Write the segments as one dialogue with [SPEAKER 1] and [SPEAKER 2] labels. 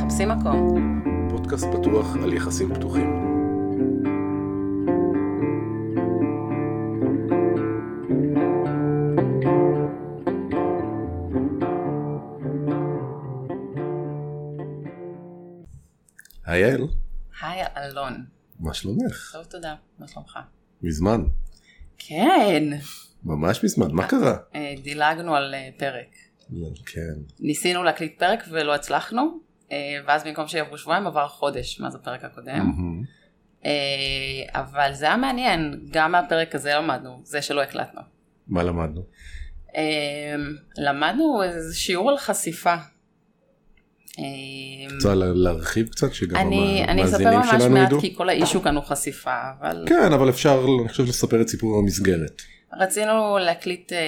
[SPEAKER 1] תופסים מקום.
[SPEAKER 2] פודקאסט פתוח על יחסים פתוחים. היי יעל,
[SPEAKER 1] היי אלון,
[SPEAKER 2] מה שלומך?
[SPEAKER 1] טוב תודה, מה שלומך?
[SPEAKER 2] מזמן,
[SPEAKER 1] כן,
[SPEAKER 2] ממש מזמן, מה קרה?
[SPEAKER 1] אה, דילגנו על אה, פרק.
[SPEAKER 2] כן,
[SPEAKER 1] ניסינו להקליט פרק ולא הצלחנו, אה, ואז במקום שיעברו שבועיים עבר חודש מאז הפרק הקודם.
[SPEAKER 2] מהמם.
[SPEAKER 1] אה, אבל זה היה מעניין, גם מהפרק הזה למדנו, זה שלא הקלטנו.
[SPEAKER 2] מה למדנו?
[SPEAKER 1] אה, למדנו איזה שיעור על חשיפה. אה,
[SPEAKER 2] רוצה לה- להרחיב קצת שגם
[SPEAKER 1] אני, אני אספר
[SPEAKER 2] המאזינים
[SPEAKER 1] ממש
[SPEAKER 2] שלנו
[SPEAKER 1] מעט
[SPEAKER 2] ידעו?
[SPEAKER 1] כי כל האישו כאן הוא חשיפה, אבל
[SPEAKER 2] כן, אבל אפשר, אני חושב, לספר את סיפור המסגרת.
[SPEAKER 1] רצינו להקליט אה,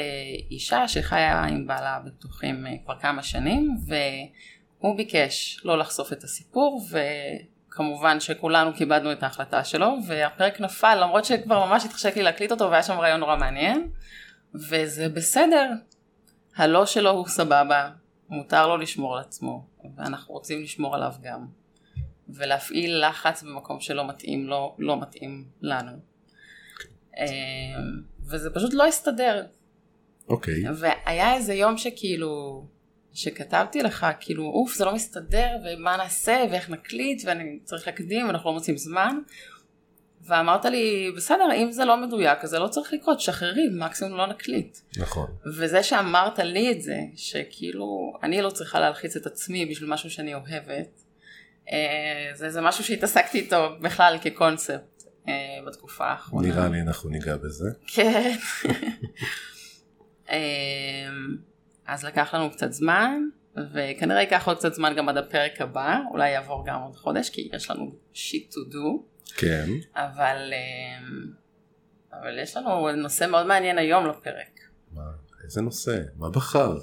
[SPEAKER 1] אישה שחיה עם בעלה בטוחים אה, כבר כמה שנים והוא ביקש לא לחשוף את הסיפור וכמובן שכולנו כיבדנו את ההחלטה שלו והפרק נפל למרות שכבר ממש התחשק לי להקליט אותו והיה שם רעיון נורא מעניין וזה בסדר, הלא שלו הוא סבבה, מותר לו לשמור על עצמו ואנחנו רוצים לשמור עליו גם ולהפעיל לחץ במקום שלא מתאים לו, לא מתאים לנו. אה, וזה פשוט לא הסתדר.
[SPEAKER 2] אוקיי,
[SPEAKER 1] והיה איזה יום שכאילו, שכתבתי לך, כאילו, אוף, זה לא מסתדר, ומה נעשה, ואיך נקליט, ואני צריך להקדים, אנחנו לא מוצאים זמן. ואמרת לי, בסדר, אם זה לא מדויק, אז זה לא צריך לקרות, שחררי, מקסימום לא נקליט.
[SPEAKER 2] נכון.
[SPEAKER 1] וזה שאמרת לי את זה, שכאילו, אני לא צריכה להלחיץ את עצמי בשביל משהו שאני אוהבת, אה, זה, זה משהו שהתעסקתי איתו בכלל כקונספט אה, בתקופה האחרונה.
[SPEAKER 2] נראה לי אנחנו ניגע בזה.
[SPEAKER 1] כן. אמ, אז לקח לנו קצת זמן, וכנראה ייקח עוד קצת זמן גם עד הפרק הבא, אולי יעבור גם עוד חודש, כי יש לנו שיט to do,
[SPEAKER 2] כן.
[SPEAKER 1] אבל, אמ, אבל יש לנו נושא מאוד מעניין היום לפרק.
[SPEAKER 2] מה, איזה נושא? מה בחרת?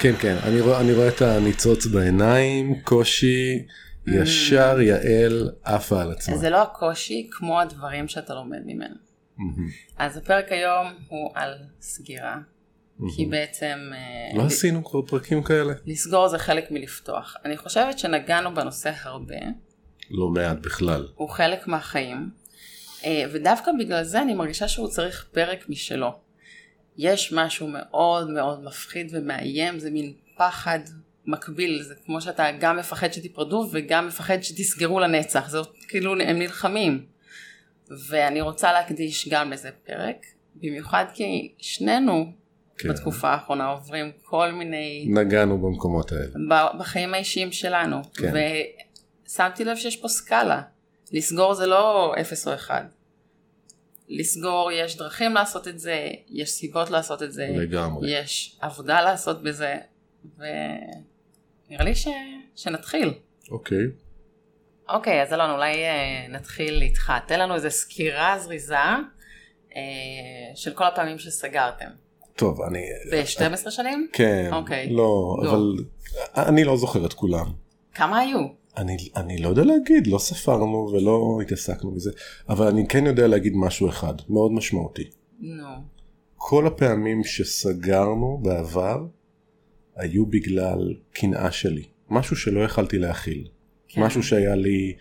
[SPEAKER 2] כן, כן, אני רואה, אני רואה את הניצוץ בעיניים, קושי, ישר יעל עפה על עצמה.
[SPEAKER 1] Mm. זה לא הקושי כמו הדברים שאתה לומד ממנו.
[SPEAKER 2] מהמם,
[SPEAKER 1] אז הפרק היום הוא על סגירה,
[SPEAKER 2] מהמם.
[SPEAKER 1] כי בעצם... אה,
[SPEAKER 2] לא עשינו כבר פרקים כאלה?
[SPEAKER 1] לסגור זה חלק מלפתוח. אני חושבת שנגענו בנושא הרבה.
[SPEAKER 2] לא מעט בכלל.
[SPEAKER 1] הוא חלק מהחיים, אה, ודווקא בגלל זה אני מרגישה שהוא צריך פרק משלו. יש משהו מאוד מאוד מפחיד ומאיים, זה מין פחד מקביל, זה כמו שאתה גם מפחד שתיפרדו וגם מפחד שתסגרו לנצח, זה כאילו הם נלחמים. ואני רוצה להקדיש גם לזה פרק, במיוחד כי שנינו
[SPEAKER 2] כן.
[SPEAKER 1] בתקופה האחרונה עוברים כל מיני
[SPEAKER 2] נגענו במקומות האלה.
[SPEAKER 1] ב- בחיים האישיים שלנו.
[SPEAKER 2] כן.
[SPEAKER 1] ושמתי לב שיש פה סקאלה. לסגור זה לא אפס או אחד. לסגור, יש דרכים לעשות את זה, יש סיבות לעשות את זה,
[SPEAKER 2] לגמרי.
[SPEAKER 1] יש עבודה לעשות בזה, ונראה לי ש... שנתחיל.
[SPEAKER 2] אוקיי.
[SPEAKER 1] אוקיי, אז אלון, אולי אה, נתחיל איתך. תן לנו איזו סקירה זריזה אה, של כל הפעמים שסגרתם.
[SPEAKER 2] אה, טוב, אני...
[SPEAKER 1] ב-12 שנים?
[SPEAKER 2] כן.
[SPEAKER 1] אוקיי.
[SPEAKER 2] לא,
[SPEAKER 1] לא.
[SPEAKER 2] אבל אני לא זוכר את כולם.
[SPEAKER 1] כמה היו?
[SPEAKER 2] אני, אני לא יודע להגיד, לא ספרנו ולא התעסקנו בזה, אבל אני כן יודע להגיד משהו אחד, מאוד משמעותי.
[SPEAKER 1] נו.
[SPEAKER 2] כל הפעמים שסגרנו בעבר היו בגלל קנאה שלי, משהו שלא יכלתי להכיל,
[SPEAKER 1] כן.
[SPEAKER 2] כן. משהו שהיה לי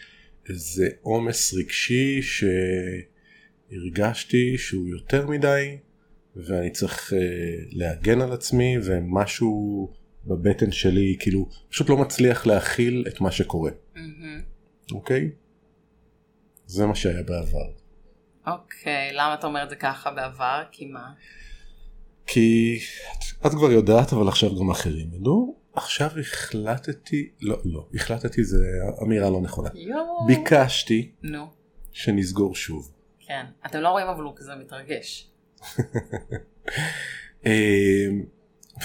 [SPEAKER 2] איזה עומס רגשי שהרגשתי שהוא יותר מדי ואני צריך אה, להגן על עצמי ומשהו בבטן שלי כאילו פשוט לא מצליח להכיל את מה שקורה,
[SPEAKER 1] מהמם.
[SPEAKER 2] אוקיי? זה מה שהיה בעבר.
[SPEAKER 1] אוקיי, למה אתה אומר את זה ככה בעבר? כי מה?
[SPEAKER 2] כי את כבר יודעת אבל עכשיו גם אחרים ידעו עכשיו החלטתי לא לא החלטתי זה אמירה לא נכונה
[SPEAKER 1] יואו.
[SPEAKER 2] ביקשתי
[SPEAKER 1] נו,
[SPEAKER 2] שנסגור שוב
[SPEAKER 1] כן. אתם לא רואים אבל הוא כזה מתרגש.
[SPEAKER 2] אמ,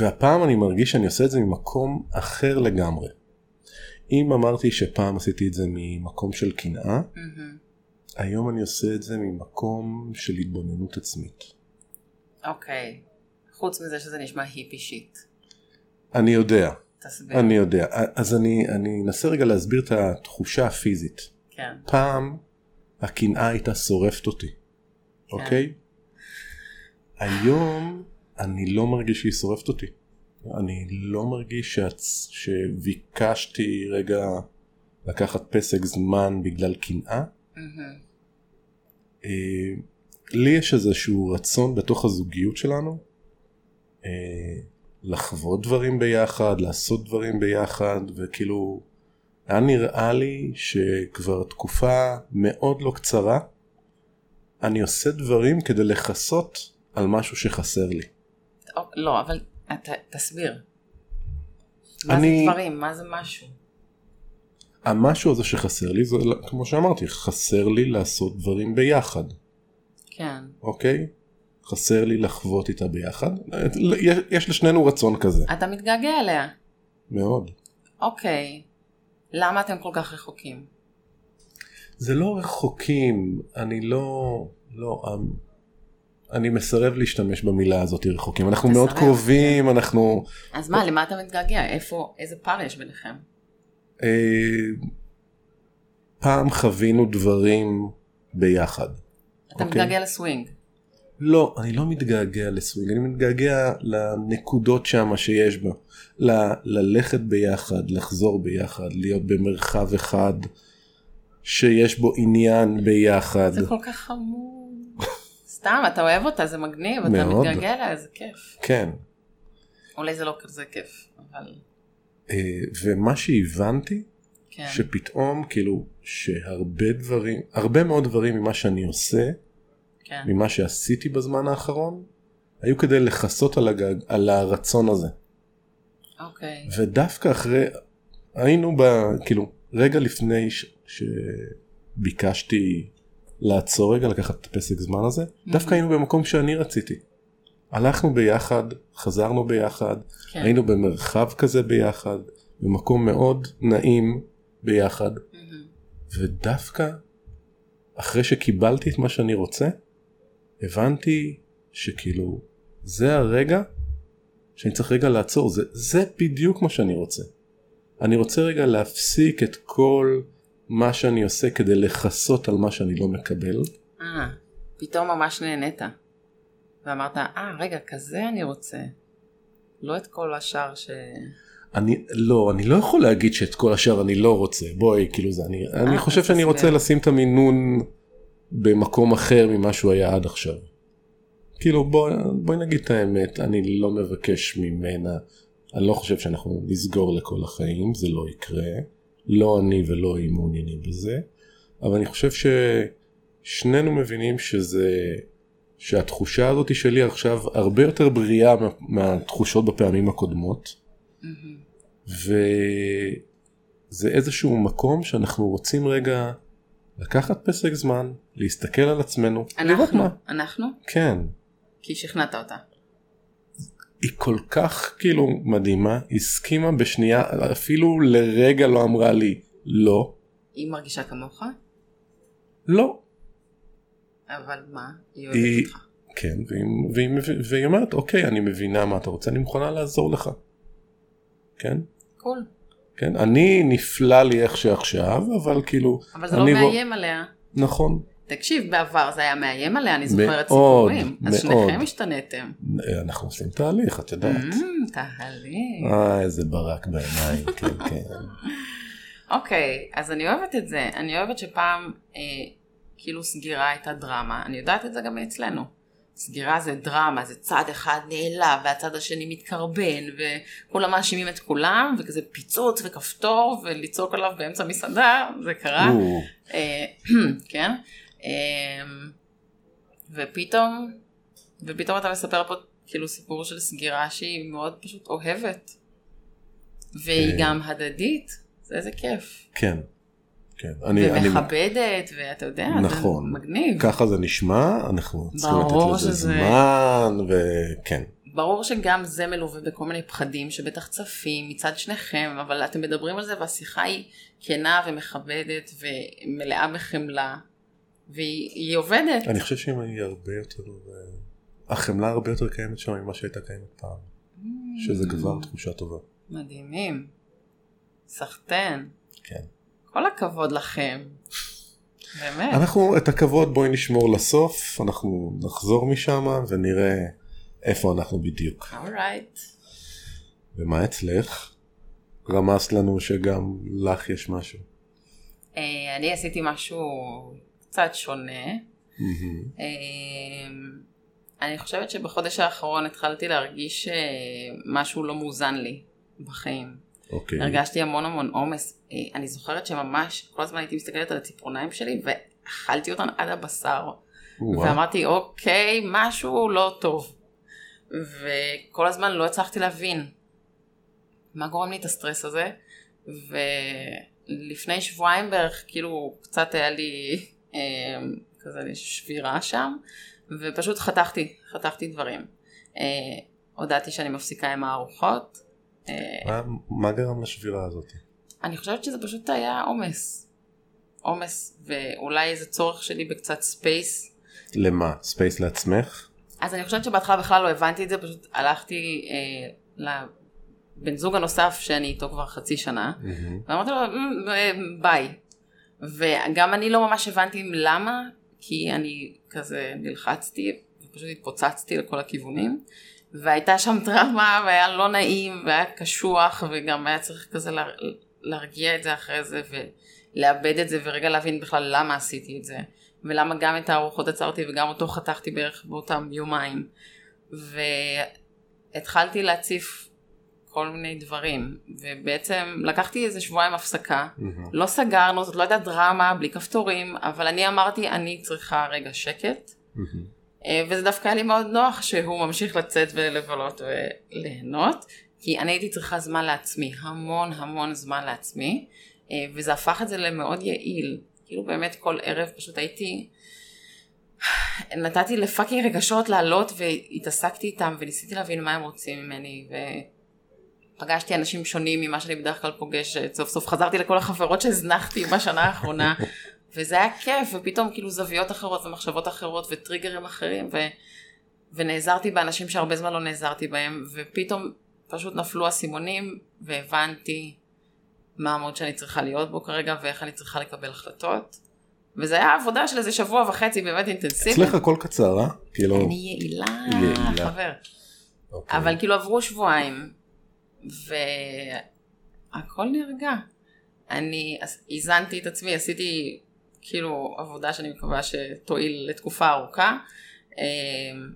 [SPEAKER 2] והפעם אני מרגיש שאני עושה את זה ממקום אחר לגמרי. אם אמרתי שפעם עשיתי את זה ממקום של קנאה
[SPEAKER 1] מהמם.
[SPEAKER 2] היום אני עושה את זה ממקום של התבוננות עצמית.
[SPEAKER 1] אוקיי. חוץ מזה שזה נשמע היפי שיט.
[SPEAKER 2] אני יודע
[SPEAKER 1] תסביר.
[SPEAKER 2] אני יודע אז אני אני אנסה רגע להסביר את התחושה הפיזית.
[SPEAKER 1] כן.
[SPEAKER 2] פעם הקנאה הייתה שורפת אותי, אוקיי? היום אני לא מרגיש שהיא שורפת אותי. אני לא מרגיש שאת- שביקשתי רגע לקחת פסק זמן בגלל קנאה.
[SPEAKER 1] מהמם.
[SPEAKER 2] אה, לי יש איזשהו רצון בתוך הזוגיות שלנו אה, לחוות דברים ביחד, לעשות דברים ביחד, וכאילו היה נראה לי שכבר תקופה מאוד לא קצרה אני עושה דברים כדי לכסות על משהו שחסר לי.
[SPEAKER 1] אוק, לא, אבל אתה, תסביר. מה
[SPEAKER 2] אני-
[SPEAKER 1] זה דברים? מה זה משהו?
[SPEAKER 2] המשהו הזה שחסר לי זה כמו שאמרתי חסר לי לעשות דברים ביחד.
[SPEAKER 1] כן.
[SPEAKER 2] אוקיי? חסר לי לחוות איתה ביחד. אה, יש- יש לשנינו רצון כזה,
[SPEAKER 1] אתה מתגעגע אליה.
[SPEAKER 2] מאוד.
[SPEAKER 1] אוקיי. למה אתם כל כך רחוקים?
[SPEAKER 2] זה לא רחוקים, אני לא... לא... אמ, אני מסרב להשתמש במילה הזאת רחוקים. אנחנו מאוד
[SPEAKER 1] תסרב, כן.
[SPEAKER 2] קרובים, אנחנו...
[SPEAKER 1] אז
[SPEAKER 2] אוקיי.
[SPEAKER 1] מה, למה אתה מתגעגע? איפה, איזה פער יש ביניכם?
[SPEAKER 2] אה, פעם חווינו דברים ביחד.
[SPEAKER 1] אתה
[SPEAKER 2] אוקיי.
[SPEAKER 1] מתגעגע לסווינג.
[SPEAKER 2] לא, אני לא מתגעגע לסווינג, אני מתגעגע לנקודות שמה שיש בה. ל- ללכת ביחד, לחזור ביחד, להיות במרחב אחד שיש בו עניין ביחד.
[SPEAKER 1] זה כל כך חמור. סתם, אתה אוהב אותה, זה מגניב, אתה
[SPEAKER 2] מאוד.
[SPEAKER 1] מתגעגע אליה, זה כיף.
[SPEAKER 2] כן.
[SPEAKER 1] אולי זה לא כזה כיף, אבל
[SPEAKER 2] אה, ומה שהבנתי,
[SPEAKER 1] כן.
[SPEAKER 2] שפתאום כאילו שהרבה דברים, הרבה מאוד דברים ממה שאני עושה,
[SPEAKER 1] כן.
[SPEAKER 2] ממה שעשיתי בזמן האחרון, היו כדי לכסות על, הגג, על הרצון הזה.
[SPEAKER 1] אוקיי.
[SPEAKER 2] ודווקא אחרי היינו ב... כאילו רגע לפני ש... שביקשתי לעצור רגע לקחת את הפסק זמן הזה דווקא היינו במקום שאני רציתי. הלכנו ביחד חזרנו ביחד
[SPEAKER 1] כן.
[SPEAKER 2] היינו במרחב כזה ביחד במקום מאוד נעים ביחד
[SPEAKER 1] מהמם.
[SPEAKER 2] ודווקא אחרי שקיבלתי את מה שאני רוצה הבנתי שכאילו זה הרגע שאני צריך רגע לעצור זה זה בדיוק מה שאני רוצה. אני רוצה רגע להפסיק את כל מה שאני עושה כדי לכסות על מה שאני לא מקבל
[SPEAKER 1] אה, פתאום ממש נהנית. ואמרת, אה, רגע, כזה אני רוצה. לא את כל השאר ש...
[SPEAKER 2] אני לא אני לא יכול להגיד שאת כל השאר אני לא רוצה בואי כאילו זה אני אני
[SPEAKER 1] אז
[SPEAKER 2] חושב שאני
[SPEAKER 1] תסביר.
[SPEAKER 2] רוצה לשים את המינון במקום אחר ממה שהוא היה עד עכשיו. כאילו בואי בואי נגיד את האמת אני לא מבקש ממנה אני לא חושב שאנחנו נסגור לכל החיים זה לא יקרה לא אני ולא היא מעוניינים בזה אבל אני חושב ששנינו מבינים שזה שהתחושה הזאת שלי עכשיו הרבה יותר בריאה מה- מהתחושות בפעמים הקודמות.
[SPEAKER 1] מהמם.
[SPEAKER 2] וזה איזשהו מקום שאנחנו רוצים רגע לקחת פסק זמן, להסתכל על עצמנו, לראות
[SPEAKER 1] אנחנו,
[SPEAKER 2] מה.
[SPEAKER 1] אנחנו?
[SPEAKER 2] כן.
[SPEAKER 1] כי שכנעת אותה.
[SPEAKER 2] היא כל כך כאילו מדהימה, הסכימה בשנייה, אפילו לרגע לא אמרה לי לא,
[SPEAKER 1] היא מרגישה כמוך,
[SPEAKER 2] לא.
[SPEAKER 1] אבל מה? היא
[SPEAKER 2] היא-
[SPEAKER 1] אוהבת אותך.
[SPEAKER 2] כן, והיא, והיא, מב- והיא אומרת, אוקיי, אני מבינה מה אתה רוצה, אני מוכנה לעזור לך. כן?
[SPEAKER 1] קול.
[SPEAKER 2] כן? אני נפלא לי איך שעכשיו, אבל כאילו,
[SPEAKER 1] אבל זה לא
[SPEAKER 2] אני בוא-
[SPEAKER 1] מאיים עליה.
[SPEAKER 2] נכון,
[SPEAKER 1] תקשיב, בעבר זה היה מאיים עליה, אני זוכרת
[SPEAKER 2] מאוד,
[SPEAKER 1] סיפורים. אז
[SPEAKER 2] מאוד.
[SPEAKER 1] שניכם השתנתם.
[SPEAKER 2] אנחנו עושים תהליך, את יודעת.
[SPEAKER 1] אמ, תהליך.
[SPEAKER 2] אה, איזה ברק בעיניים, כן, כן.
[SPEAKER 1] אוקיי, אז אני אוהבת את זה. אני אוהבת שפעם אה, כאילו סגירה הייתה דרמה. אני יודעת את זה גם אצלנו. סגירה זה דרמה, זה צד אחד נעלב והצד השני מתקרבן וכולם מאשימים את כולם וכזה פיצוץ וכפתור ולצעוק עליו באמצע מסעדה, זה קרה.
[SPEAKER 2] או,
[SPEAKER 1] אה, כן. אמ, ופתאום, ופתאום אתה מספר פה כאילו סיפור של סגירה שהיא מאוד פשוט אוהבת. והיא
[SPEAKER 2] אה.
[SPEAKER 1] גם הדדית, זה איזה כיף.
[SPEAKER 2] כן, כן. אני, אני,
[SPEAKER 1] ומכבדת, ואתה יודע, זה
[SPEAKER 2] נכון.
[SPEAKER 1] מגניב.
[SPEAKER 2] ככה זה נשמע, אנחנו צריכים
[SPEAKER 1] ברור
[SPEAKER 2] לתת לזה
[SPEAKER 1] שזה-
[SPEAKER 2] זמן, וכן.
[SPEAKER 1] ברור שגם זה מלווה בכל מיני פחדים שבטח צפים מצד שניכם, אבל אתם מדברים על זה והשיחה היא כנה ומכבדת ומלאה בחמלה, והיא היא עובדת.
[SPEAKER 2] אני חושב שאם היא הרבה יותר, אה, החמלה הרבה יותר קיימת שם ממה שהייתה קיימת פעם, שזה כבר תחושה טובה.
[SPEAKER 1] מדהימים. סחטיין.
[SPEAKER 2] כן.
[SPEAKER 1] כל הכבוד לכם. באמת.
[SPEAKER 2] אנחנו, את הכבוד בואי נשמור לסוף, אנחנו נחזור משם ונראה איפה אנחנו בדיוק.
[SPEAKER 1] אורייט.
[SPEAKER 2] ומה אצלך? רמזת לנו שגם לך יש משהו.
[SPEAKER 1] אה, אני עשיתי משהו קצת שונה.
[SPEAKER 2] מהמם.
[SPEAKER 1] אה, אני חושבת שבחודש האחרון התחלתי להרגיש אה, משהו לא מאוזן לי בחיים.
[SPEAKER 2] אוקיי.
[SPEAKER 1] הרגשתי המון המון עומס. אה, אני זוכרת שממש כל הזמן הייתי מסתכלת על הציפורניים שלי ואכלתי אותן עד הבשר.
[SPEAKER 2] וואו.
[SPEAKER 1] ואמרתי אוקיי משהו לא טוב. וכל הזמן לא הצלחתי להבין מה גורם לי את הסטרס הזה. ולפני שבועיים בערך כאילו קצת היה לי אה, כזה שבירה שם ופשוט חתכתי, חתכתי דברים. אה, הודעתי שאני מפסיקה עם הארוחות. אה,
[SPEAKER 2] מה- מה גרם לשבירה הזאת?
[SPEAKER 1] אני חושבת שזה פשוט היה עומס. עומס, ואולי איזה צורך שלי בקצת ספייס.
[SPEAKER 2] למה? ספייס לעצמך?
[SPEAKER 1] אז אני חושבת שבהתחלה בכלל לא הבנתי את זה, פשוט הלכתי אה, לבן זוג הנוסף שאני איתו כבר חצי שנה,
[SPEAKER 2] מהמם.
[SPEAKER 1] ואמרתי לו "אמ, אה, ביי. וגם אני לא ממש הבנתי למה, כי אני כזה נלחצתי, ופשוט התפוצצתי לכל הכיוונים, והייתה שם טראומה, והיה לא נעים, והיה קשוח, וגם היה צריך כזה לה, להרגיע את זה אחרי זה, ולאבד את זה, ורגע להבין בכלל למה עשיתי את זה, ולמה גם את הארוחות עצרתי, וגם אותו חתכתי בערך באותם יומיים. והתחלתי להציף כל מיני דברים, ובעצם לקחתי איזה שבועיים הפסקה.
[SPEAKER 2] מהמם.
[SPEAKER 1] לא סגרנו, זאת לא הייתה דרמה, בלי כפתורים, אבל אני אמרתי, אני צריכה רגע שקט.
[SPEAKER 2] מהמם.
[SPEAKER 1] אה, וזה דווקא היה לי מאוד נוח שהוא ממשיך לצאת ולבלות וליהנות, כי אני הייתי צריכה זמן לעצמי, המון המון זמן לעצמי, אה, וזה הפך את זה למאוד יעיל. כאילו באמת כל ערב פשוט הייתי... נתתי לפאקינג רגשות לעלות והתעסקתי איתם וניסיתי להבין מה הם רוצים ממני ופגשתי אנשים שונים ממה שאני בדרך כלל פוגשת סוף סוף חזרתי לכל החברות שהזנחתי בשנה האחרונה וזה היה כיף, ופתאום כאילו זוויות אחרות ומחשבות אחרות וטריגרים אחרים, ו... ונעזרתי באנשים שהרבה זמן לא נעזרתי בהם, ופתאום פשוט נפלו האסימונים, והבנתי מה המוד שאני צריכה להיות בו כרגע, ואיך אני צריכה לקבל החלטות. וזה היה עבודה של איזה שבוע וחצי באמת אינטנסיבית.
[SPEAKER 2] אצלך הכל קצר, אה? כאילו...
[SPEAKER 1] אני יעילה,
[SPEAKER 2] יעילה.
[SPEAKER 1] חבר.
[SPEAKER 2] אוקיי.
[SPEAKER 1] אבל כאילו עברו שבועיים, והכל נרגע. אני אז- איזנתי את עצמי, עשיתי כאילו עבודה שאני מקווה שתועיל לתקופה ארוכה, אה,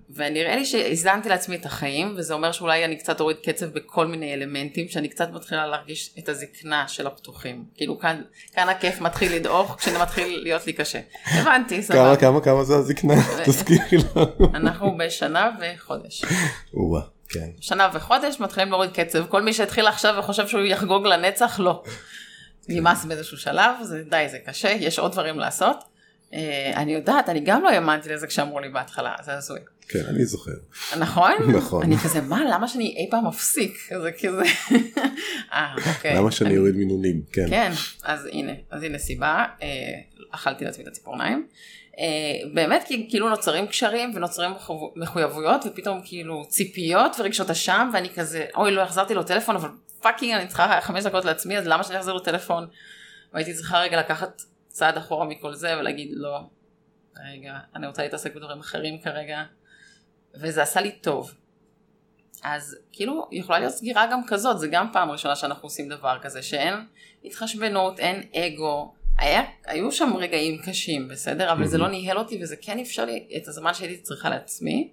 [SPEAKER 1] ונראה לי שאיזנתי לעצמי את החיים, וזה אומר שאולי אני קצת אוריד קצב בכל מיני אלמנטים, שאני קצת מתחילה להרגיש את הזקנה של הפתוחים. כאילו כאן, כאן הכיף מתחיל לדעוך, כשזה מתחיל להיות לי קשה. הבנתי, סבבה.
[SPEAKER 2] כמה כמה כמה זה הזקנה? תזכירי לנו.
[SPEAKER 1] אנחנו בשנה וחודש.
[SPEAKER 2] וואה, כן.
[SPEAKER 1] שנה וחודש מתחילים להוריד קצב כל מי שהתחיל עכשיו וחושב שהוא יחגוג לנצח לא. נמאס באיזשהו שלב זה די זה קשה יש עוד דברים לעשות. אה, אני יודעת אני גם לא האמנתי לזה כשאמרו לי בהתחלה זה הזוי
[SPEAKER 2] כן, אני זוכר.
[SPEAKER 1] נכון
[SPEAKER 2] נכון.
[SPEAKER 1] אני כזה מה למה שאני אי פעם אפסיק זה כזה אה אוקיי
[SPEAKER 2] למה שאני אוריד מינונים? כן.
[SPEAKER 1] כן, אז הנה, אז הנה סיבה, אה, אכלתי לעצמי את הציפורניים. אה, באמת כי כאילו נוצרים קשרים ונוצרים מחו- מחויבויות ופתאום כאילו ציפיות ורגשות אשם ואני כזה אוי לא החזרתי לו טלפון אבל פאקינג אני צריכה חמש דקות לעצמי אז למה שאני אחזיר לו טלפון. והייתי צריכה רגע לקחת צעד אחורה מכל זה ולהגיד לא, רגע אני רוצה להתעסק בדברים אחרים כרגע וזה עשה לי טוב. אז כאילו יכולה להיות סגירה גם כזאת זה גם פעם ראשונה שאנחנו עושים דבר כזה שאין התחשבנות, אין אגו. היה, היו שם רגעים קשים, בסדר? אבל זה לא ניהל אותי וזה כן אפשר לי את הזמן שהייתי צריכה לעצמי.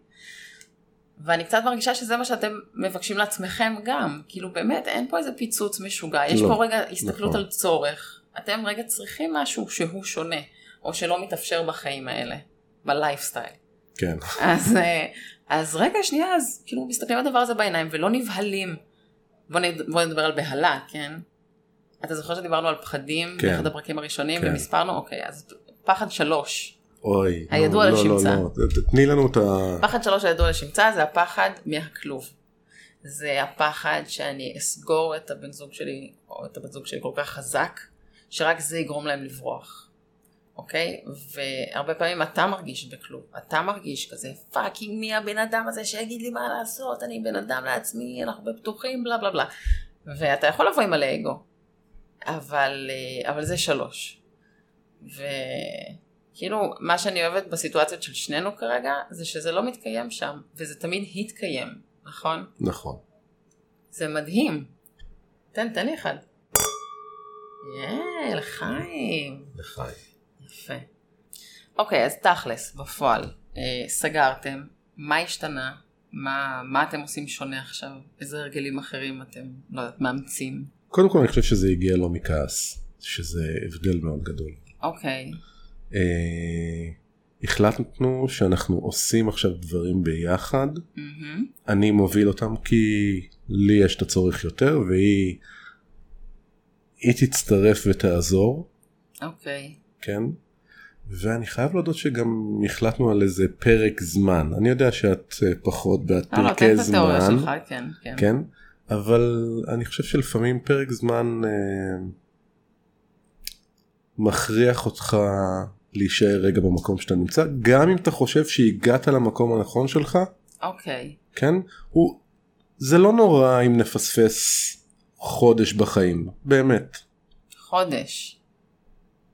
[SPEAKER 1] ואני קצת מרגישה שזה מה שאתם מבקשים לעצמכם גם. כאילו באמת, אין פה איזה פיצוץ משוגע. יש
[SPEAKER 2] לא,
[SPEAKER 1] פה רגע הסתכלות
[SPEAKER 2] נכון.
[SPEAKER 1] על צורך. אתם רגע צריכים משהו שהוא שונה, או שלא מתאפשר בחיים האלה, בלייפסטייל.
[SPEAKER 2] כן.
[SPEAKER 1] אז, אה, אז רגע, שנייה, אז כאילו מסתכלים על הדבר הזה בעיניים ולא נבהלים. בוא, נד... בוא נדבר על בהלה, כן? אתה זוכר שדיברנו על פחדים
[SPEAKER 2] כן.
[SPEAKER 1] באחד הפרקים הראשונים
[SPEAKER 2] כן.
[SPEAKER 1] ומספרנו? אוקיי, אז פחד שלוש.
[SPEAKER 2] אוי. לא,
[SPEAKER 1] הידוע
[SPEAKER 2] לא,
[SPEAKER 1] לשמצה.
[SPEAKER 2] לא, לא. ת- ת- תני לנו את ה...
[SPEAKER 1] פחד שלוש הידוע לשמצה זה הפחד מהכלוב. זה הפחד שאני אסגור את הבן זוג שלי או את הבת זוג שלי כל כך חזק, שרק זה יגרום להם לברוח. אוקיי? והרבה פעמים אתה מרגיש בכלום. אתה מרגיש כזה, פאקינג מי הבן אדם הזה שיגיד לי מה לעשות, אני בן אדם לעצמי, אנחנו בפתוחים, בלה בלה בלה. ואתה יכול לבוא עם מלא אגו. אבל, אה, אבל זה שלוש. וכאילו, כאילו, מה שאני אוהבת בסיטואציות של שנינו כרגע, זה שזה לא מתקיים שם, וזה תמיד התקיים, נכון?
[SPEAKER 2] נכון.
[SPEAKER 1] זה מדהים. תן, תן לי אחד. יאל, חיים.
[SPEAKER 2] לחי.
[SPEAKER 1] יפה. אוקיי, אז תכלס, בפועל, אה, סגרתם, מה השתנה? מה, מה אתם עושים שונה עכשיו? איזה הרגלים אחרים אתם, לא יודעת, מאמצים?
[SPEAKER 2] קודם כל אני חושב שזה הגיע לא מכעס, שזה הבדל מאוד גדול.
[SPEAKER 1] אוקיי,
[SPEAKER 2] אה, החלטנו שאנחנו עושים עכשיו דברים ביחד,
[SPEAKER 1] מהמם,
[SPEAKER 2] אני מוביל אותם כי לי יש את הצורך יותר והיא היא תצטרף ותעזור,
[SPEAKER 1] אוקיי,
[SPEAKER 2] כן? ואני חייב להודות שגם החלטנו על איזה פרק זמן. אני יודע שאת אה, פחות בעד
[SPEAKER 1] לא, לא, תן
[SPEAKER 2] פרקי
[SPEAKER 1] את התיאוריה
[SPEAKER 2] זמן,
[SPEAKER 1] שלך, כן, כן,
[SPEAKER 2] כן? אבל אני חושב שלפעמים פרק זמן אה, מכריח אותך להישאר רגע במקום שאתה נמצא, גם אם אתה חושב שהגעת למקום הנכון שלך,
[SPEAKER 1] אוקיי,
[SPEAKER 2] כן? הוא... זה לא נורא אם נפספס חודש בחיים, באמת.
[SPEAKER 1] חודש.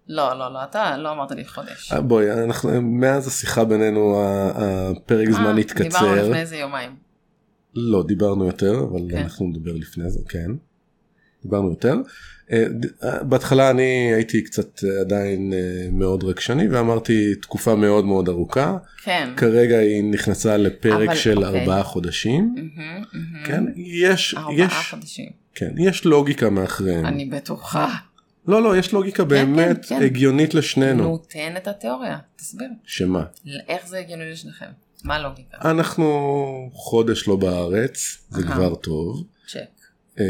[SPEAKER 1] לא, לא, לא, אתה לא אמרת לי חודש.
[SPEAKER 2] אה, בואי, אנחנו, מאז השיחה בינינו ה- הפרק זמן
[SPEAKER 1] אה, דיברנו
[SPEAKER 2] התקצר.
[SPEAKER 1] לפני איזה יומיים.
[SPEAKER 2] לא, דיברנו יותר, אבל
[SPEAKER 1] כן.
[SPEAKER 2] אנחנו נדבר לפני זה, כן. דיברנו יותר. אה, ד- אה, בהתחלה אני הייתי קצת אה, עדיין אה, מאוד רגשני ואמרתי תקופה מאוד מאוד ארוכה.
[SPEAKER 1] כן.
[SPEAKER 2] כרגע היא נכנסה לפרק
[SPEAKER 1] אבל,
[SPEAKER 2] של
[SPEAKER 1] אוקיי.
[SPEAKER 2] ארבעה חודשים.
[SPEAKER 1] מהמם, מהמם.
[SPEAKER 2] כן, יש,
[SPEAKER 1] ארבעה
[SPEAKER 2] יש,
[SPEAKER 1] חודשים.
[SPEAKER 2] כן, יש לוגיקה מאחריהם.
[SPEAKER 1] אני בטוחה.
[SPEAKER 2] לא לא יש לוגיקה באמת
[SPEAKER 1] כן, כן.
[SPEAKER 2] הגיונית לשנינו
[SPEAKER 1] נו, תן את התיאוריה, תסביר.
[SPEAKER 2] שמה
[SPEAKER 1] איך זה הגיוני לשניכם? מה הלוגיקה?
[SPEAKER 2] אנחנו חודש לא בארץ זה
[SPEAKER 1] אהה.
[SPEAKER 2] כבר טוב
[SPEAKER 1] צ'ק.
[SPEAKER 2] אה,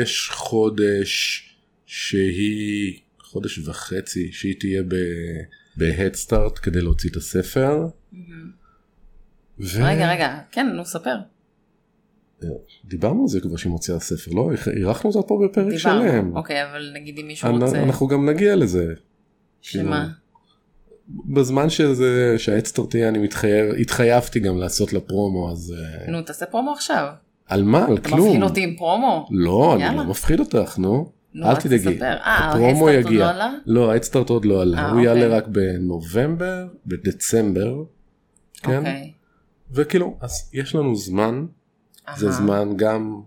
[SPEAKER 2] יש חודש שהיא חודש וחצי שהיא תהיה בהדסטארט כדי להוציא את הספר. ו-
[SPEAKER 1] רגע, רגע, כן, נו, ספר.
[SPEAKER 2] דיברנו על זה כבר שהיא מוציאה ספר לא אירחנו אותה פה בפרק שלם.
[SPEAKER 1] דיברנו. אוקיי, אבל נגיד אם מישהו
[SPEAKER 2] אנ-
[SPEAKER 1] רוצה...
[SPEAKER 2] אה, אנחנו גם נגיע לזה
[SPEAKER 1] שמה?
[SPEAKER 2] בזמן שזה שהאדסטארט תהיה אני מתחייב התחייבתי גם לעשות לה פרומו אז אה,
[SPEAKER 1] נו, תעשה פרומו עכשיו.
[SPEAKER 2] על מה? על
[SPEAKER 1] אתה
[SPEAKER 2] כלום.
[SPEAKER 1] מפחיד אותי עם פרומו?
[SPEAKER 2] לא, אני
[SPEAKER 1] אה, יאללה.
[SPEAKER 2] לא מפחיד אותך, נו.
[SPEAKER 1] נו,
[SPEAKER 2] אל
[SPEAKER 1] אז
[SPEAKER 2] תדאגי.
[SPEAKER 1] תספר. אה,
[SPEAKER 2] הפרומו
[SPEAKER 1] ההדסטארט עוד לא
[SPEAKER 2] יגיע.
[SPEAKER 1] עלה?
[SPEAKER 2] לא, האדסטארט עוד לא עלה.
[SPEAKER 1] אה,
[SPEAKER 2] הוא
[SPEAKER 1] אוקיי.
[SPEAKER 2] יעלה רק בנובמבר, בדצמבר. כן?
[SPEAKER 1] אוקיי.
[SPEAKER 2] וכאילו, אז יש לנו זמן, זה
[SPEAKER 1] אהה.
[SPEAKER 2] זמן גם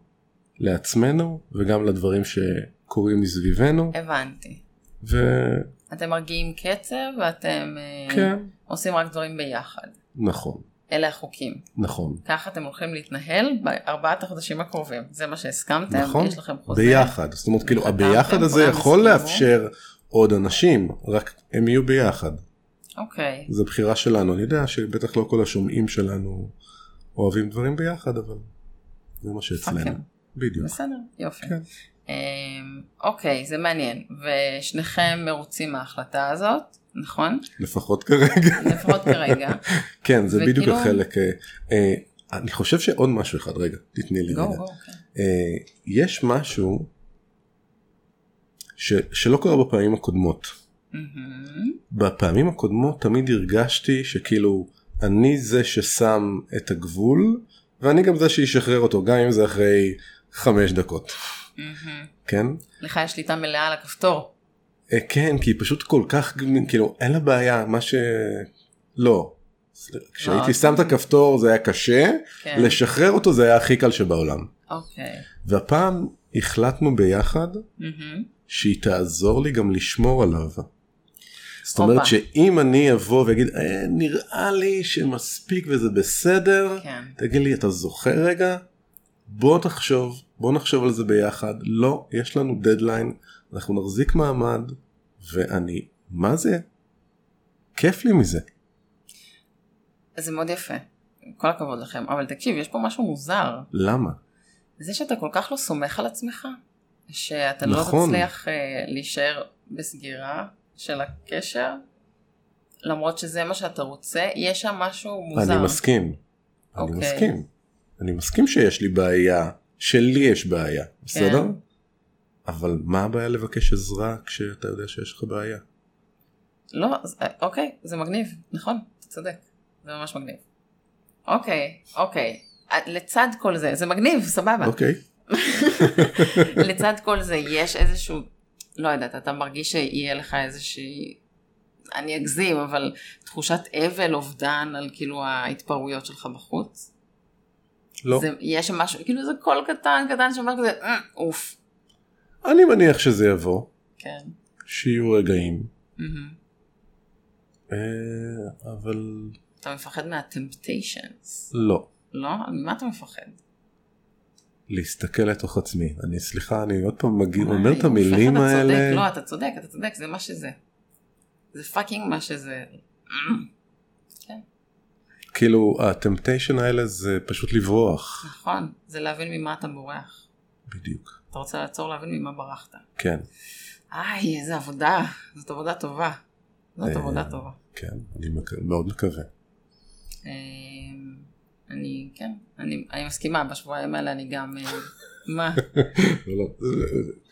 [SPEAKER 2] לעצמנו וגם לדברים שקורים מסביבנו,
[SPEAKER 1] הבנתי.
[SPEAKER 2] וכן,
[SPEAKER 1] אתם מרגיעים קצב ואתם אה,
[SPEAKER 2] כן.
[SPEAKER 1] עושים רק דברים ביחד.
[SPEAKER 2] נכון,
[SPEAKER 1] אלה החוקים.
[SPEAKER 2] נכון.
[SPEAKER 1] ככה אתם הולכים להתנהל בארבעת החודשים הקרובים. זה מה שהסכמתם,
[SPEAKER 2] נכון,
[SPEAKER 1] יש לכם חוזה.
[SPEAKER 2] ביחד, זאת אומרת כאילו
[SPEAKER 1] חתמתם,
[SPEAKER 2] הביחד הזה
[SPEAKER 1] כולם
[SPEAKER 2] יכול
[SPEAKER 1] הסכימו.
[SPEAKER 2] לאפשר עוד אנשים, רק הם יהיו ביחד.
[SPEAKER 1] אוקיי.
[SPEAKER 2] זו בחירה שלנו, אני יודע שבטח לא כל השומעים שלנו אוהבים דברים ביחד, אבל זה מה שאצלנו.
[SPEAKER 1] אוקיי.
[SPEAKER 2] בדיוק.
[SPEAKER 1] בסדר, יופי.
[SPEAKER 2] כן.
[SPEAKER 1] אמ, אוקיי, זה מעניין. ושניכם מרוצים מההחלטה הזאת, נכון?
[SPEAKER 2] לפחות כרגע.
[SPEAKER 1] לפחות כרגע.
[SPEAKER 2] כן, זה
[SPEAKER 1] וכאילו-
[SPEAKER 2] בדיוק החלק. אה, אה, אני חושב שעוד משהו אחד, רגע, תתני לי
[SPEAKER 1] גו,
[SPEAKER 2] רגע.
[SPEAKER 1] גו, כן.
[SPEAKER 2] אה, יש משהו ש- שלא קרה בפעמים הקודמות.
[SPEAKER 1] מהמם.
[SPEAKER 2] בפעמים הקודמות תמיד הרגשתי שכאילו אני זה ששם את הגבול, ואני גם זה שישחרר אותו, גם אם זה אחרי חמש דקות,
[SPEAKER 1] מהמם.
[SPEAKER 2] כן?
[SPEAKER 1] mm-hmm. לך יש שליטה מלאה על הכפתור.
[SPEAKER 2] אה, כן כי היא פשוט כל כך גמ- כאילו אין לה בעיה מה ש... לא. כשהייתי שם את הכפתור זה היה קשה
[SPEAKER 1] לא, כן.
[SPEAKER 2] לשחרר אותו זה היה הכי קל שבעולם.
[SPEAKER 1] אוקיי.
[SPEAKER 2] והפעם החלטנו ביחד
[SPEAKER 1] מהמם.
[SPEAKER 2] שהיא תעזור לי גם לשמור עליו. זאת אומרת
[SPEAKER 1] הופה.
[SPEAKER 2] שאם אני אבוא ואגיד "אה, נראה לי שמספיק וזה בסדר
[SPEAKER 1] כן.
[SPEAKER 2] תגיד לי אתה זוכר רגע בוא תחשוב בוא נחשוב על זה ביחד לא יש לנו דדליין אנחנו נחזיק מעמד ואני מה זה כיף לי מזה
[SPEAKER 1] אז זה מאוד יפה. כל הכבוד לכם. אבל תקשיב, יש פה משהו מוזר.
[SPEAKER 2] למה
[SPEAKER 1] זה שאתה כל כך לא סומך על עצמך, שאתה לא
[SPEAKER 2] נכון.
[SPEAKER 1] תצליח אה, להישאר בסגירה של הקשר, למרות שזה מה שאתה רוצה, יש שם משהו מוזר.
[SPEAKER 2] אני מסכים אני
[SPEAKER 1] אוקיי.
[SPEAKER 2] מסכים אני מסכים שיש לי בעיה שלי יש בעיה בסדר
[SPEAKER 1] כן.
[SPEAKER 2] אבל מה הבעיה לבקש עזרה כשאתה יודע שיש לך בעיה
[SPEAKER 1] לא, אז, אה, אוקיי, זה מגניב, נכון, אתה צודק, זה ממש מגניב. אוקיי, אוקיי, אה, לצד כל זה, זה מגניב, סבבה.
[SPEAKER 2] אוקיי
[SPEAKER 1] לצד כל זה יש איזשהו, לא יודעת, אתה מרגיש שיהיה לך איזושהי, אני אגזים, אבל תחושת אבל, אובדן על כאילו ההתפרעויות שלך בחוץ?
[SPEAKER 2] לא.
[SPEAKER 1] זה, יש שם משהו, כאילו זה קול קטן קטן שאומר כזה, "אה, אוף.
[SPEAKER 2] אני מניח שזה יבוא,
[SPEAKER 1] כן.
[SPEAKER 2] שיהיו רגעים,
[SPEAKER 1] מהמם.
[SPEAKER 2] אה, אבל
[SPEAKER 1] אתה מפחד מהטמפטיישנס.
[SPEAKER 2] לא.
[SPEAKER 1] לא? על ממה אתה מפחד?
[SPEAKER 2] להסתכל לתוך עצמי. אני, סליחה, אני עוד פעם מגיע,
[SPEAKER 1] וואי,
[SPEAKER 2] אומר את
[SPEAKER 1] אוף, איך
[SPEAKER 2] המילים
[SPEAKER 1] אתה צודק.
[SPEAKER 2] האלה.
[SPEAKER 1] לא, אתה צודק, אתה צודק, זה מה שזה. זה פאקינג מה שזה.
[SPEAKER 2] כאילו, הטמפטיישן האלה זה פשוט לברוח.
[SPEAKER 1] נכון, זה להבין ממה אתה בורח.
[SPEAKER 2] בדיוק.
[SPEAKER 1] אתה רוצה לעצור להבין ממה ברחת.
[SPEAKER 2] כן,
[SPEAKER 1] איי, איזה עבודה. זאת עבודה טובה. זאת
[SPEAKER 2] אה.
[SPEAKER 1] עבודה טובה.
[SPEAKER 2] כן, אני מק... מאוד מקווה.
[SPEAKER 1] אמ, אני, כן, אני אני מסכימה, בשבועיים האלה אני גם... אה, מה?
[SPEAKER 2] לא, לא.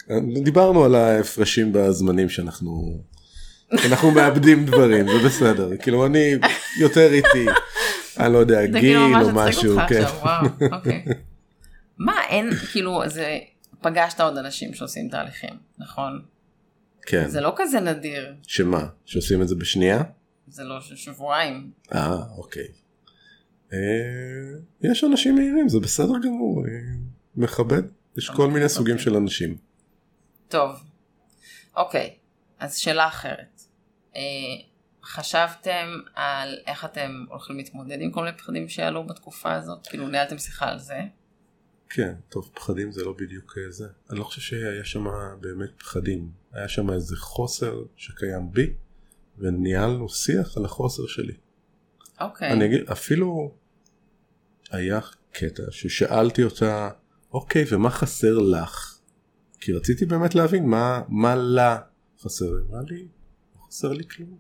[SPEAKER 2] אה, דיברנו על ההפרשים בזמנים שאנחנו... אנחנו מאבדים דברים, זה בסדר. כאילו, אני יותר איתי, אני לא יודע,
[SPEAKER 1] זה כאילו
[SPEAKER 2] גיל
[SPEAKER 1] ממש
[SPEAKER 2] או
[SPEAKER 1] הצחיק
[SPEAKER 2] משהו,
[SPEAKER 1] אותך
[SPEAKER 2] כן.
[SPEAKER 1] עכשיו, וואו, אוקיי. מה, אין, כאילו, זה... פגשת עוד אנשים שעושים תהליכים, נכון?
[SPEAKER 2] כן.
[SPEAKER 1] זה לא כזה נדיר,
[SPEAKER 2] שמה? שעושים את זה בשנייה?
[SPEAKER 1] זה לא ש- שבועיים.
[SPEAKER 2] אה, אוקיי. אה, יש אנשים מהירים, זה בסדר גמור, אה, מכבד. יש כל מיני סוגים של אנשים.
[SPEAKER 1] טוב, אוקיי, אז שאלה אחרת. אה, חשבתם על איך אתם הולכים להתמודד עם כל מיני פחדים שעלו בתקופה הזאת? כאילו ניהלתם שיחה על זה?
[SPEAKER 2] כן, טוב, פחדים זה לא בדיוק אה, זה. אני לא חושב שהיה שם באמת פחדים. היה שם איזה חוסר שקיים בי, וניהלנו שיח על החוסר שלי.
[SPEAKER 1] אוקיי.
[SPEAKER 2] אני אגיד, אפילו היה קטע ששאלתי אותה, אוקיי, ומה חסר לך? כי רציתי באמת להבין מה, מה לה חסר. היא אמרה לי, לא חסר לי כלום.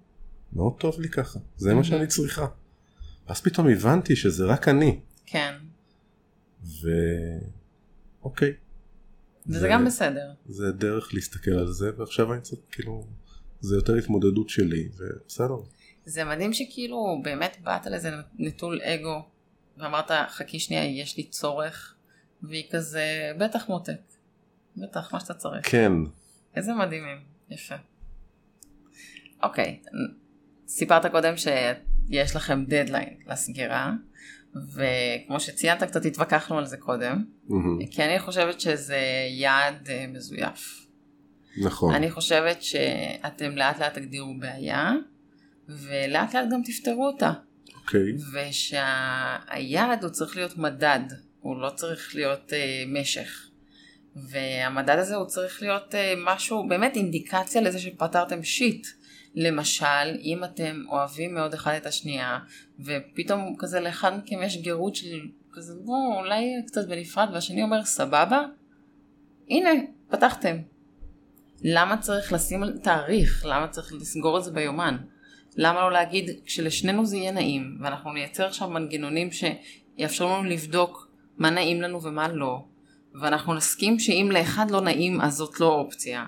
[SPEAKER 2] מאוד טוב לי ככה, זה
[SPEAKER 1] Mhm.
[SPEAKER 2] מה שאני צריכה. ואז פתאום הבנתי שזה רק אני,
[SPEAKER 1] כן.
[SPEAKER 2] ו... אוקיי,
[SPEAKER 1] וזה
[SPEAKER 2] זה-
[SPEAKER 1] גם בסדר.
[SPEAKER 2] זה דרך להסתכל על זה, ועכשיו אני צריך, כאילו, זה יותר התמודדות שלי, ובסדר.
[SPEAKER 1] זה מדהים שכאילו באמת באת לזה נטול אגו, ואמרת, חכי שנייה, יש לי צורך, והיא כזה, בטח מותק. בטח, מה שאתה צריך.
[SPEAKER 2] כן,
[SPEAKER 1] איזה מדהימים, יפה. אוקיי, סיפרת קודם שיש לכם דדליין לסגירה, וכמו שציינת קצת התווכחנו על זה קודם,
[SPEAKER 2] מהמם,
[SPEAKER 1] כי אני חושבת שזה יעד אה, מזויף.
[SPEAKER 2] נכון.
[SPEAKER 1] אני חושבת שאתם לאט לאט תגדירו בעיה, ולאט לאט גם תפתרו אותה,
[SPEAKER 2] אוקיי,
[SPEAKER 1] ושהיעד הוא צריך להיות מדד, הוא לא צריך להיות אה, משך. והמדד הזה הוא צריך להיות אה, משהו, באמת אינדיקציה לזה שפתרתם שיט. למשל, אם אתם אוהבים מאוד אחד את השנייה, ופתאום כזה לאחד מכם יש גירות של כזה, בואו, אולי קצת בנפרד, והשני אומר, סבבה, הנה, פתחתם. למה צריך לשים תאריך? למה צריך לסגור את זה ביומן? למה לא להגיד כשלשנינו זה יהיה נעים ואנחנו נייצר עכשיו מנגנונים שיאפשרו לנו לבדוק מה נעים לנו ומה לא ואנחנו נסכים שאם לאחד לא נעים אז זאת לא אופציה.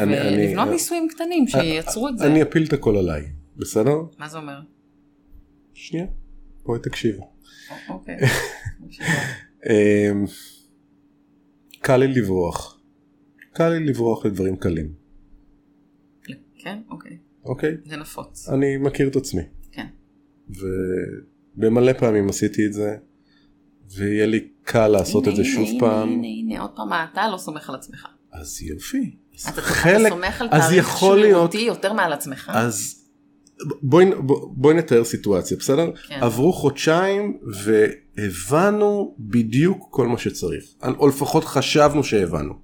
[SPEAKER 2] אני- אני- אה,
[SPEAKER 1] ולבנות ניסויים קטנים שייצרו את זה.
[SPEAKER 2] אני אפיל את הכל עליי, בסדר?
[SPEAKER 1] מה זה אומר?
[SPEAKER 2] שנייה, בואי תקשיבי.
[SPEAKER 1] א- אוקיי.
[SPEAKER 2] אמ, קל לי לברוח. קל לי לברוח לדברים קלים,
[SPEAKER 1] כן, אוקיי.
[SPEAKER 2] אוקיי?
[SPEAKER 1] זה נפוץ.
[SPEAKER 2] אני מכיר את עצמי.
[SPEAKER 1] כן.
[SPEAKER 2] ובמלא פעמים עשיתי את זה, ויהיה לי קל לעשות
[SPEAKER 1] הנה,
[SPEAKER 2] את זה
[SPEAKER 1] הנה,
[SPEAKER 2] שוב
[SPEAKER 1] הנה,
[SPEAKER 2] פעם.
[SPEAKER 1] הנה, הנה, עוד פעם, אתה לא סומך על עצמך.
[SPEAKER 2] אז יופי. אז
[SPEAKER 1] אתה- אתה
[SPEAKER 2] חלק,
[SPEAKER 1] סומך על
[SPEAKER 2] אז
[SPEAKER 1] תאריך
[SPEAKER 2] יכול להיות-
[SPEAKER 1] שרירותי יותר מעל עצמך.
[SPEAKER 2] אז בואי בוא, בוא נתאר סיטואציה, בסדר?
[SPEAKER 1] כן.
[SPEAKER 2] עברו חודשיים והבנו בדיוק כל מה שצריך, או לפחות חשבנו שהבנו,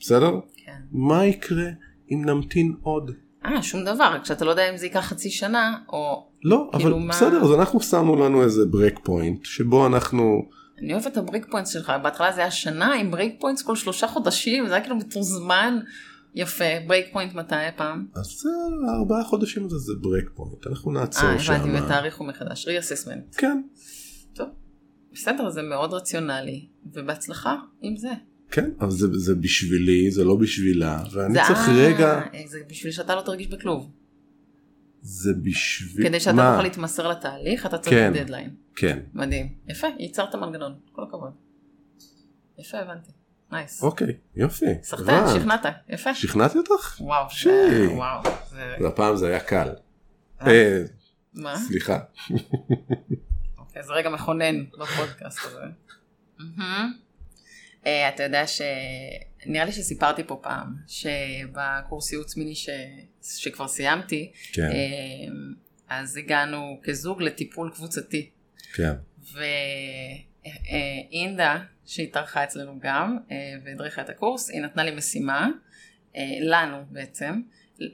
[SPEAKER 2] בסדר?
[SPEAKER 1] כן.
[SPEAKER 2] מה יקרה אם נמתין עוד?
[SPEAKER 1] אה, שום דבר, רק שאתה לא יודע אם זה ייקח חצי שנה, או...
[SPEAKER 2] לא,
[SPEAKER 1] כאילו
[SPEAKER 2] אבל
[SPEAKER 1] מה-
[SPEAKER 2] בסדר, אז אנחנו שמנו לנו איזה ברק פוינט, שבו אנחנו,
[SPEAKER 1] אני אוהבת את הבריק פוינטס שלך, בהתחלה זה היה שנה עם ברייק פוינטס כל שלושה חודשים, זה היה כאילו מתוזמן. יפה, ברייק פוינט מתי הפעם?
[SPEAKER 2] אז זה ארבעה חודשים הזה זה ברק פוינט, אנחנו
[SPEAKER 1] אה,
[SPEAKER 2] נעצור שם.
[SPEAKER 1] הבנתי, ותאריכו מחדש, re-assessment.
[SPEAKER 2] כן,
[SPEAKER 1] בסדר, זה מאוד רציונלי, ובהצלחה עם זה.
[SPEAKER 2] כן, אבל זה, זה בשבילי, זה לא בשבילה, ואני
[SPEAKER 1] זה-
[SPEAKER 2] צריך
[SPEAKER 1] אה,
[SPEAKER 2] רגע,
[SPEAKER 1] זה בשביל שאתה לא תרגיש בכלום.
[SPEAKER 2] זה בשביל,
[SPEAKER 1] כדי שאתה
[SPEAKER 2] מה?
[SPEAKER 1] תוכל להתמסר לתהליך, אתה צריך
[SPEAKER 2] כן.
[SPEAKER 1] דדליין.
[SPEAKER 2] כן.
[SPEAKER 1] מדהים. יפה, ייצרת מנגנון, כל הכבוד. יפה, הבנתי. נייס.
[SPEAKER 2] אוקיי, יופי.
[SPEAKER 1] סחטן,
[SPEAKER 2] הבנת.
[SPEAKER 1] שכנעת, יפה.
[SPEAKER 2] שכנעתי אותך?
[SPEAKER 1] וואו,
[SPEAKER 2] שי.
[SPEAKER 1] זה- וואו, זה...
[SPEAKER 2] והפעם זה היה קל.
[SPEAKER 1] אה,
[SPEAKER 2] אה,
[SPEAKER 1] מה?
[SPEAKER 2] סליחה.
[SPEAKER 1] אוקיי, זה רגע מכונן בפודקאסט הזה. מהמם. אה, אתה יודע ש... נראה לי שסיפרתי פה פעם, שבקורס ייעוץ מיני ש... שכבר סיימתי,
[SPEAKER 2] כן,
[SPEAKER 1] אה, אז הגענו כזוג לטיפול קבוצתי.
[SPEAKER 2] כן.
[SPEAKER 1] ואינדה, שהתארחה אצלנו גם, אה, והדריכה את הקורס, היא נתנה לי משימה, אה, לנו בעצם,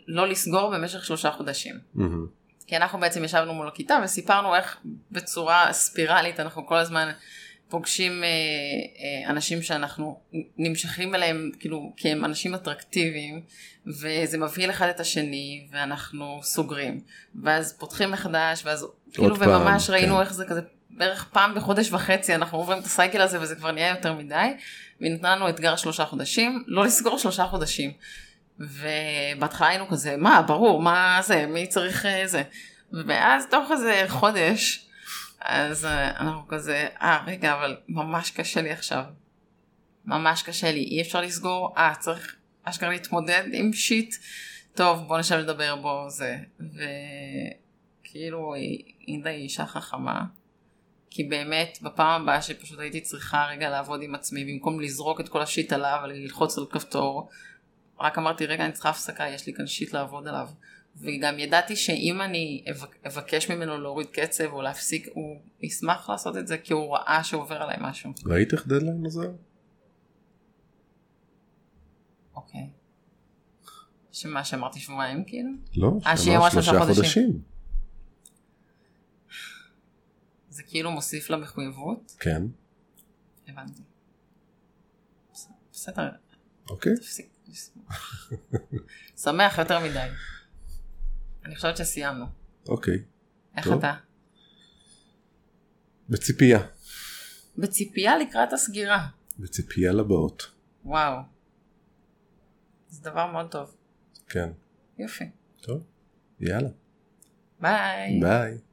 [SPEAKER 1] לא לסגור במשך שלושה חודשים.
[SPEAKER 2] מהמם.
[SPEAKER 1] כי אנחנו בעצם ישבנו מול הכיתה וסיפרנו איך בצורה ספירלית אנחנו כל הזמן פוגשים אה, אה, אנשים שאנחנו נמשכים אליהם כאילו כי הם אנשים אטרקטיביים וזה מבהיל אחד את השני ואנחנו סוגרים ואז פותחים מחדש ואז כאילו
[SPEAKER 2] פעם,
[SPEAKER 1] וממש ראינו
[SPEAKER 2] כן.
[SPEAKER 1] איך זה כזה בערך פעם בחודש וחצי אנחנו עוברים את הסייקל הזה וזה כבר נהיה יותר מדי והיא נתנה לנו אתגר שלושה חודשים לא לסגור שלושה חודשים. ובהתחלה היינו כזה מה ברור מה זה מי צריך אה, זה ואז תוך איזה חודש אז אה, אנחנו כזה אה רגע אבל ממש קשה לי עכשיו ממש קשה לי אי אפשר לסגור אה צריך אשכרה להתמודד עם שיט טוב בוא נשב לדבר בו זה וכאילו היא- אינדה היא אישה חכמה כי באמת בפעם הבאה שפשוט הייתי צריכה רגע לעבוד עם עצמי במקום לזרוק את כל השיט עליו וללחוץ על כפתור רק אמרתי רגע אני צריכה הפסקה יש לי כאן שיט לעבוד עליו וגם ידעתי שאם אני אבק- אבקש ממנו להוריד קצב או להפסיק הוא ישמח לעשות את זה כי הוא ראה שעובר עליי משהו.
[SPEAKER 2] ראית איך דדליין עוזר?
[SPEAKER 1] אוקיי. שמה שאמרתי שבועיים כאילו?
[SPEAKER 2] לא,
[SPEAKER 1] אה, שהיא
[SPEAKER 2] אמרה
[SPEAKER 1] אמרה שלושה חודשים.
[SPEAKER 2] חודשים.
[SPEAKER 1] זה כאילו מוסיף למחויבות?
[SPEAKER 2] כן,
[SPEAKER 1] הבנתי. בס- בסדר,
[SPEAKER 2] אוקיי.
[SPEAKER 1] תפסיק. שמח יותר מדי. אני חושבת שסיימנו.
[SPEAKER 2] אוקיי.
[SPEAKER 1] איך
[SPEAKER 2] טוב.
[SPEAKER 1] אתה?
[SPEAKER 2] בציפייה.
[SPEAKER 1] בציפייה לקראת הסגירה.
[SPEAKER 2] בציפייה לבאות.
[SPEAKER 1] וואו. זה דבר מאוד טוב.
[SPEAKER 2] כן.
[SPEAKER 1] יופי. אה.
[SPEAKER 2] טוב. יאללה.
[SPEAKER 1] ביי.
[SPEAKER 2] ביי.